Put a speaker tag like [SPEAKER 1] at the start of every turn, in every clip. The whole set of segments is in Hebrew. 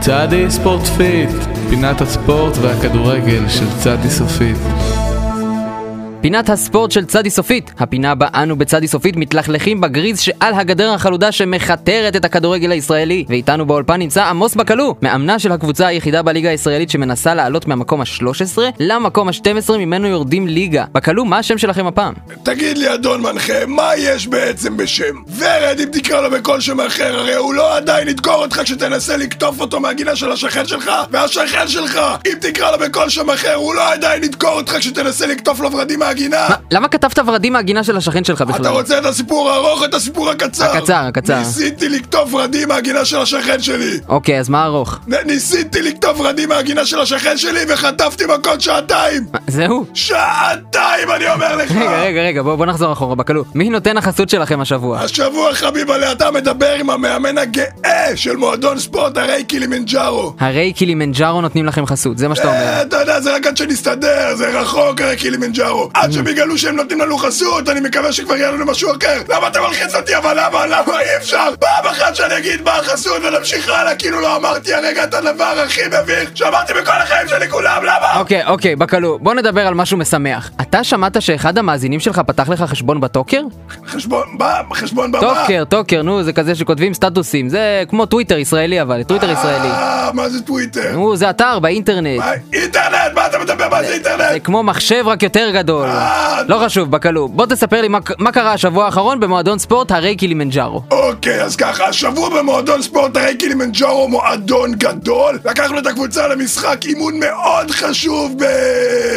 [SPEAKER 1] צעדי ספורט פיט, פינת הספורט והכדורגל של צעדי סופית.
[SPEAKER 2] פינת הספורט של צדי סופית, הפינה בה אנו בצדי סופית מתלכלכים בגריז שעל הגדר החלודה שמכתרת את הכדורגל הישראלי. ואיתנו באולפן נמצא עמוס בקלו, מאמנה של הקבוצה היחידה בליגה הישראלית שמנסה לעלות מהמקום ה-13 למקום ה-12 ממנו יורדים ליגה. בקלו, מה השם שלכם הפעם?
[SPEAKER 3] תגיד לי, אדון מנחה, מה יש בעצם בשם? ורד, אם תקרא לו בכל שם אחר, הרי הוא לא עדיין ידקור אותך כשתנסה לקטוף אותו מהגינה של השכן שלך, והשכן שלך! אם תקרא לו בכל שם אחר, הוא לא עדיין ידקור אותך כשתנסה לקטוף לו ורדים מהגינה!
[SPEAKER 2] מה, למה כתבת ורדים מהגינה של השכן שלך בכלל?
[SPEAKER 3] אתה רוצה את הסיפור הארוך או את הסיפור הקצר?
[SPEAKER 2] הקצר, הקצר.
[SPEAKER 3] ניסיתי לקטוף ורדים מהגינה של השכן שלי!
[SPEAKER 2] אוקיי, אז מה ארוך?
[SPEAKER 3] נ- ניסיתי לקטוף ורדים מהגינה של השכן שלי וחטפתי מכות שעתיים!
[SPEAKER 2] מה, זהו?
[SPEAKER 3] שעתיים, אני אומר לך!
[SPEAKER 2] רגע, רגע, רגע, בוא, בוא נחזור אחורה, בקלו. מי נותן החסות שלכם השבוע?
[SPEAKER 3] השבוע חביב עלי אתה מדבר עם המאמן הגאה של מועדון ספורט הרי קילימנג'ארו.
[SPEAKER 2] הרי קילימנג'ארו נותנים לכם חסות, זה מה שאתה אומר.
[SPEAKER 3] אה, אתה יודע, זה רק עד שנסתדר, זה רחוק הרי קילימנג'ארו. עד שהם יגלו שהם נותנים לנו חסות, אני מקווה שכבר יהיה לנו משהו אחר. למה אתה מלחיץ אותי? אבל למה? למה אי אפשר? פעם אחת שאני אגיד מה החסות ונמשיך הלאה, כאילו לא אמרתי הרגע את הדבר הכי מביך שאמרתי בכל החיים שלי כולם, למה?
[SPEAKER 2] אוקיי, אוקיי, בקלו, בוא נדבר על משהו משמח. אתה שמעת שאחד המאזינים שלך פתח לך חשבון בטוקר?
[SPEAKER 3] חשבון, מה? חשבון במה?
[SPEAKER 2] טוקר, טוקר, נו, זה כזה שכותבים סטטוסים. זה כמו טוויטר ישראלי אבל, טוויטר ישראלי.
[SPEAKER 3] אה, מה זה טוויטר?
[SPEAKER 2] נו, זה אתר באינטרנט.
[SPEAKER 3] מה, אינטרנט? מה אתה מדבר? מה זה אינטרנט?
[SPEAKER 2] זה כמו מחשב רק יותר גדול.
[SPEAKER 3] אה,
[SPEAKER 2] לא חשוב, בקלו. בוא תספר לי מה- מה קרה השבוע האחרון במועדון ספורט הרי קילימנג'ארו.
[SPEAKER 3] אוקיי, אז ככה, השבוע במועדון ספורט הרי קילימנג'רו מועדון גדול, לקחנו את הקבוצה למשחק אימון מאוד חשוב ב...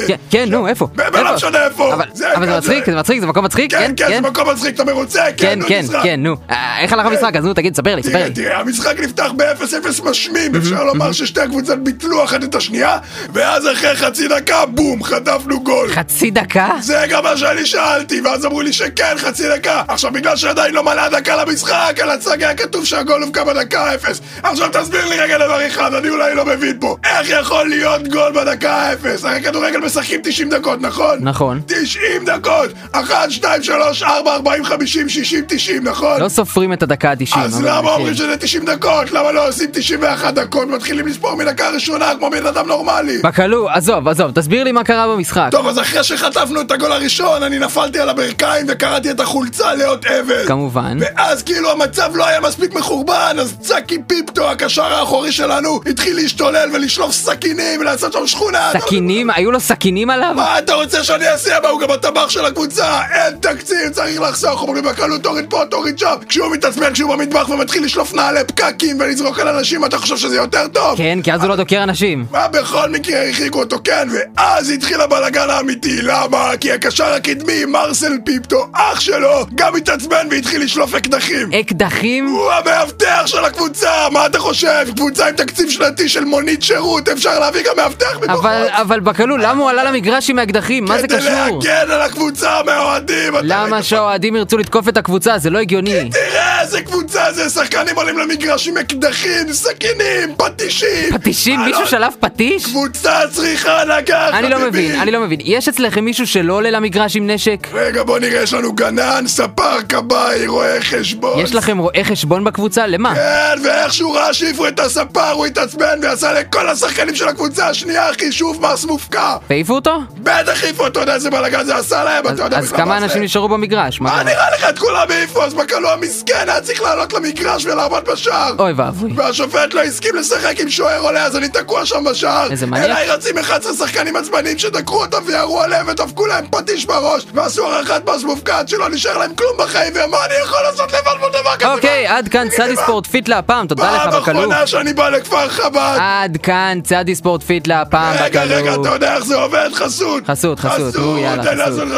[SPEAKER 2] כן, כן, נו, איפה?
[SPEAKER 3] ב- ולא
[SPEAKER 2] איפה?
[SPEAKER 3] משנה איפה.
[SPEAKER 2] אבל אבל זה מצחיק, זה מצחיק, זה מקום מצחיק?
[SPEAKER 3] כן, כן, זה מקום מצחיק, אתה מרוצה?
[SPEAKER 2] כן,
[SPEAKER 3] נו,
[SPEAKER 2] כן,
[SPEAKER 3] משחק.
[SPEAKER 2] כן, נו. אה, איך הלך המשחק? אז נו, תגיד, ספר לי, ספר
[SPEAKER 3] תראה,
[SPEAKER 2] לי.
[SPEAKER 3] תראה, המשחק נפתח ב-0-0 משמים, אפשר לומר ששתי הקבוצות ביטלו אחת את השנייה, ואז אחרי חצי דקה, בום, חטפנו גול.
[SPEAKER 2] חצי דקה?
[SPEAKER 3] זה גם מה שאני שאלתי, ואז אמרו לי שכן, חצי דקה. עכשיו, בגלל שעדיין לא מלאה דקה למשחק, על הצג היה כתוב שהגול הובקע בדקה אפס. עכשיו תסביר לי רגע דבר אחד, אני אולי לא מבין פה. איך יכול להיות גול בדקה האפס? הרי כדורגל משחקים 90 דקות, נכון?
[SPEAKER 2] נכון.
[SPEAKER 3] 90 דקות! 1, 2, 3, 4, 40, 50, 60, 90, נכון?
[SPEAKER 2] לא סופרים את הדקה ה-90. אוקיי.
[SPEAKER 3] אז אה, למה אוקיי,
[SPEAKER 2] כן.
[SPEAKER 3] אומרים שזה 90 דקות? למה לא עושים 91 דקות? מתחילים לספור מדקה ראשונה כמו בן אדם נורמלי.
[SPEAKER 2] בקלו, עזוב, עזוב, תסביר לי מה קרה במשחק.
[SPEAKER 3] טוב, אז אחרי שחטפנו את הגול הראשון, אני נפלתי על הברכיים וקראתי את החולצה לאות אבן.
[SPEAKER 2] כמובן.
[SPEAKER 3] ואז כאילו המצב לא היה מספיק מחורבן, אז צקי פיפטו, הקשר האחורי שלנו, התחיל להשתולל ולשלוף סכינים ולעשות שם שכונה.
[SPEAKER 2] סכינים? היו לו סכינים עליו?
[SPEAKER 3] מה אתה רוצה שאני אעשה? מה, הוא גם הטבח של הקבוצה? אין תקציב, צריך לחסוך, אומרים בקלות, תוריד פה, תוריד שם. כשהוא מתעצבן, כשהוא במטבח ומתחיל לשלוף נעלי פקקים ולזרוק על אנשים, אתה חושב שזה יותר טוב?
[SPEAKER 2] כן, כי אז הוא לא דוקר אנשים.
[SPEAKER 3] מה בכל מקרה הרחיקו אותו כן, ואז התחיל הבלאגן האמיתי, למה? כי הקשר הקדמי, מרסל פיפטו, אח שלו, גם התעצבן והתחיל לשלוף אקדחים.
[SPEAKER 2] אקדחים?
[SPEAKER 3] הוא המאבטח של הקבוצה, מה אתה חושב? קבוצה עם תקציב שנתי של מונית שירות, אפשר להביא גם מאבטח מבחוץ.
[SPEAKER 2] אבל, אבל בקלו, למה הוא עלה למגרש עם האקדחים? מה זה
[SPEAKER 3] אוקיי. כדי
[SPEAKER 2] קשור?
[SPEAKER 3] להגן על הקבוצה מהאוהדים. אתה
[SPEAKER 2] למה
[SPEAKER 3] ראית?
[SPEAKER 2] שהאוהדים ירצו לתקוף את הקבוצה? זה לא הגיוני.
[SPEAKER 3] תראה איזה קבוצה זה, שחקנים עולים למגרש עם אקדחים, סכינים, פטישים.
[SPEAKER 2] פטישים?
[SPEAKER 3] אה,
[SPEAKER 2] מישהו
[SPEAKER 3] לא,
[SPEAKER 2] שלף פטיש?
[SPEAKER 3] קבוצה צריכה לקחת.
[SPEAKER 2] אני לא מבין, אני לא מבין. יש אצלכם מישהו שלא עולה למגרש עם נשק?
[SPEAKER 3] רגע, בוא נראה, יש לנו גנן, ספר, כבאי, רואה חשבון.
[SPEAKER 2] יש לכם רואה חשבון בקבוצה? למה?
[SPEAKER 3] כן, ואיך שהוא ראה שהעיפו את הספר, הוא התעצבן ועשה לכל השחקנים של הקבוצה השנייה חישוב מס מופקע.
[SPEAKER 2] העיפו אותו?
[SPEAKER 3] בטח העיפו אותו, אתה יודע איזה בלאגן זה עשה להם,
[SPEAKER 2] אז-
[SPEAKER 3] אתה יודע
[SPEAKER 2] אז
[SPEAKER 3] בכלל
[SPEAKER 2] כמה
[SPEAKER 3] מה זה.
[SPEAKER 2] אנשים נשארו במגרש? מה
[SPEAKER 3] מה
[SPEAKER 2] קרה?
[SPEAKER 3] נראה לך את כולם העיפו? אז בקלו המסכן היה צריך לעלות למגרש ולעמוד בשער.
[SPEAKER 2] אוי ואבוי.
[SPEAKER 3] והשופט לא הסכים לשחק עם שוער עולה, אז אני תקוע שם בשער.
[SPEAKER 2] איזה מניאק.
[SPEAKER 3] אליי רצים 11 שחקנים עצבניים שדקרו אותם וירו עליהם וטפקו להם פטיש בראש, ועשו הערכת מס מופקעת שלא נשאר להם כלום בחיים, ומה אני יכול לעשות לבד מול דבר כזה?
[SPEAKER 2] אוקיי,
[SPEAKER 3] מה?
[SPEAKER 2] עד כאן
[SPEAKER 3] תגיד לי,
[SPEAKER 2] צדי
[SPEAKER 3] מה?
[SPEAKER 2] ספורט פיט להפעם, תודה לך
[SPEAKER 3] פעם
[SPEAKER 2] בקלו.
[SPEAKER 3] אחרונה שאני בא לכפר חב"ד.
[SPEAKER 2] עד כאן צדי ספורט פיט להפעם
[SPEAKER 3] רגע, רגע,
[SPEAKER 2] בקלו.
[SPEAKER 3] אתה יודע איך זה עובד? חסות.
[SPEAKER 2] חסות, חסות, נו, יאללה,
[SPEAKER 3] תן
[SPEAKER 2] חסות.
[SPEAKER 3] לעשות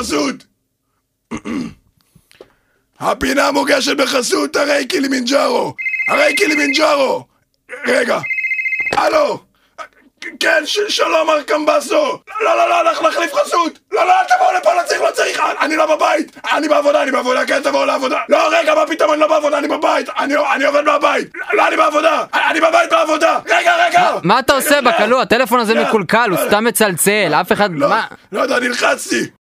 [SPEAKER 3] חסות. הפינה מוגשת בחסות הרי קילימנג'רו. הרי קילימנג'רו. רגע. הלו. כן, ש- שלום מר קמבסו. לא, לא, לא, אנחנו נחליף חסות. לא, לא, אל תבואו לפה, לא צריך, לא צריך. אני לא בבית. אני בעבודה, אני בעבודה, כן, תבואו לעבודה. לא, רגע, מה פתאום אני לא בעבודה, אני בבית. אני אני עובד מהבית. לא, אני בעבודה. אני בבית בעבודה. רגע, רגע.
[SPEAKER 2] מה אתה עושה
[SPEAKER 3] רגע,
[SPEAKER 2] בקלו? הטלפון הזה
[SPEAKER 3] לא,
[SPEAKER 2] מקולקל, הוא
[SPEAKER 3] לא,
[SPEAKER 2] סתם מצלצל, אף אחד...
[SPEAKER 3] לא,
[SPEAKER 2] מה?
[SPEAKER 3] לא יודע, נלחצתי.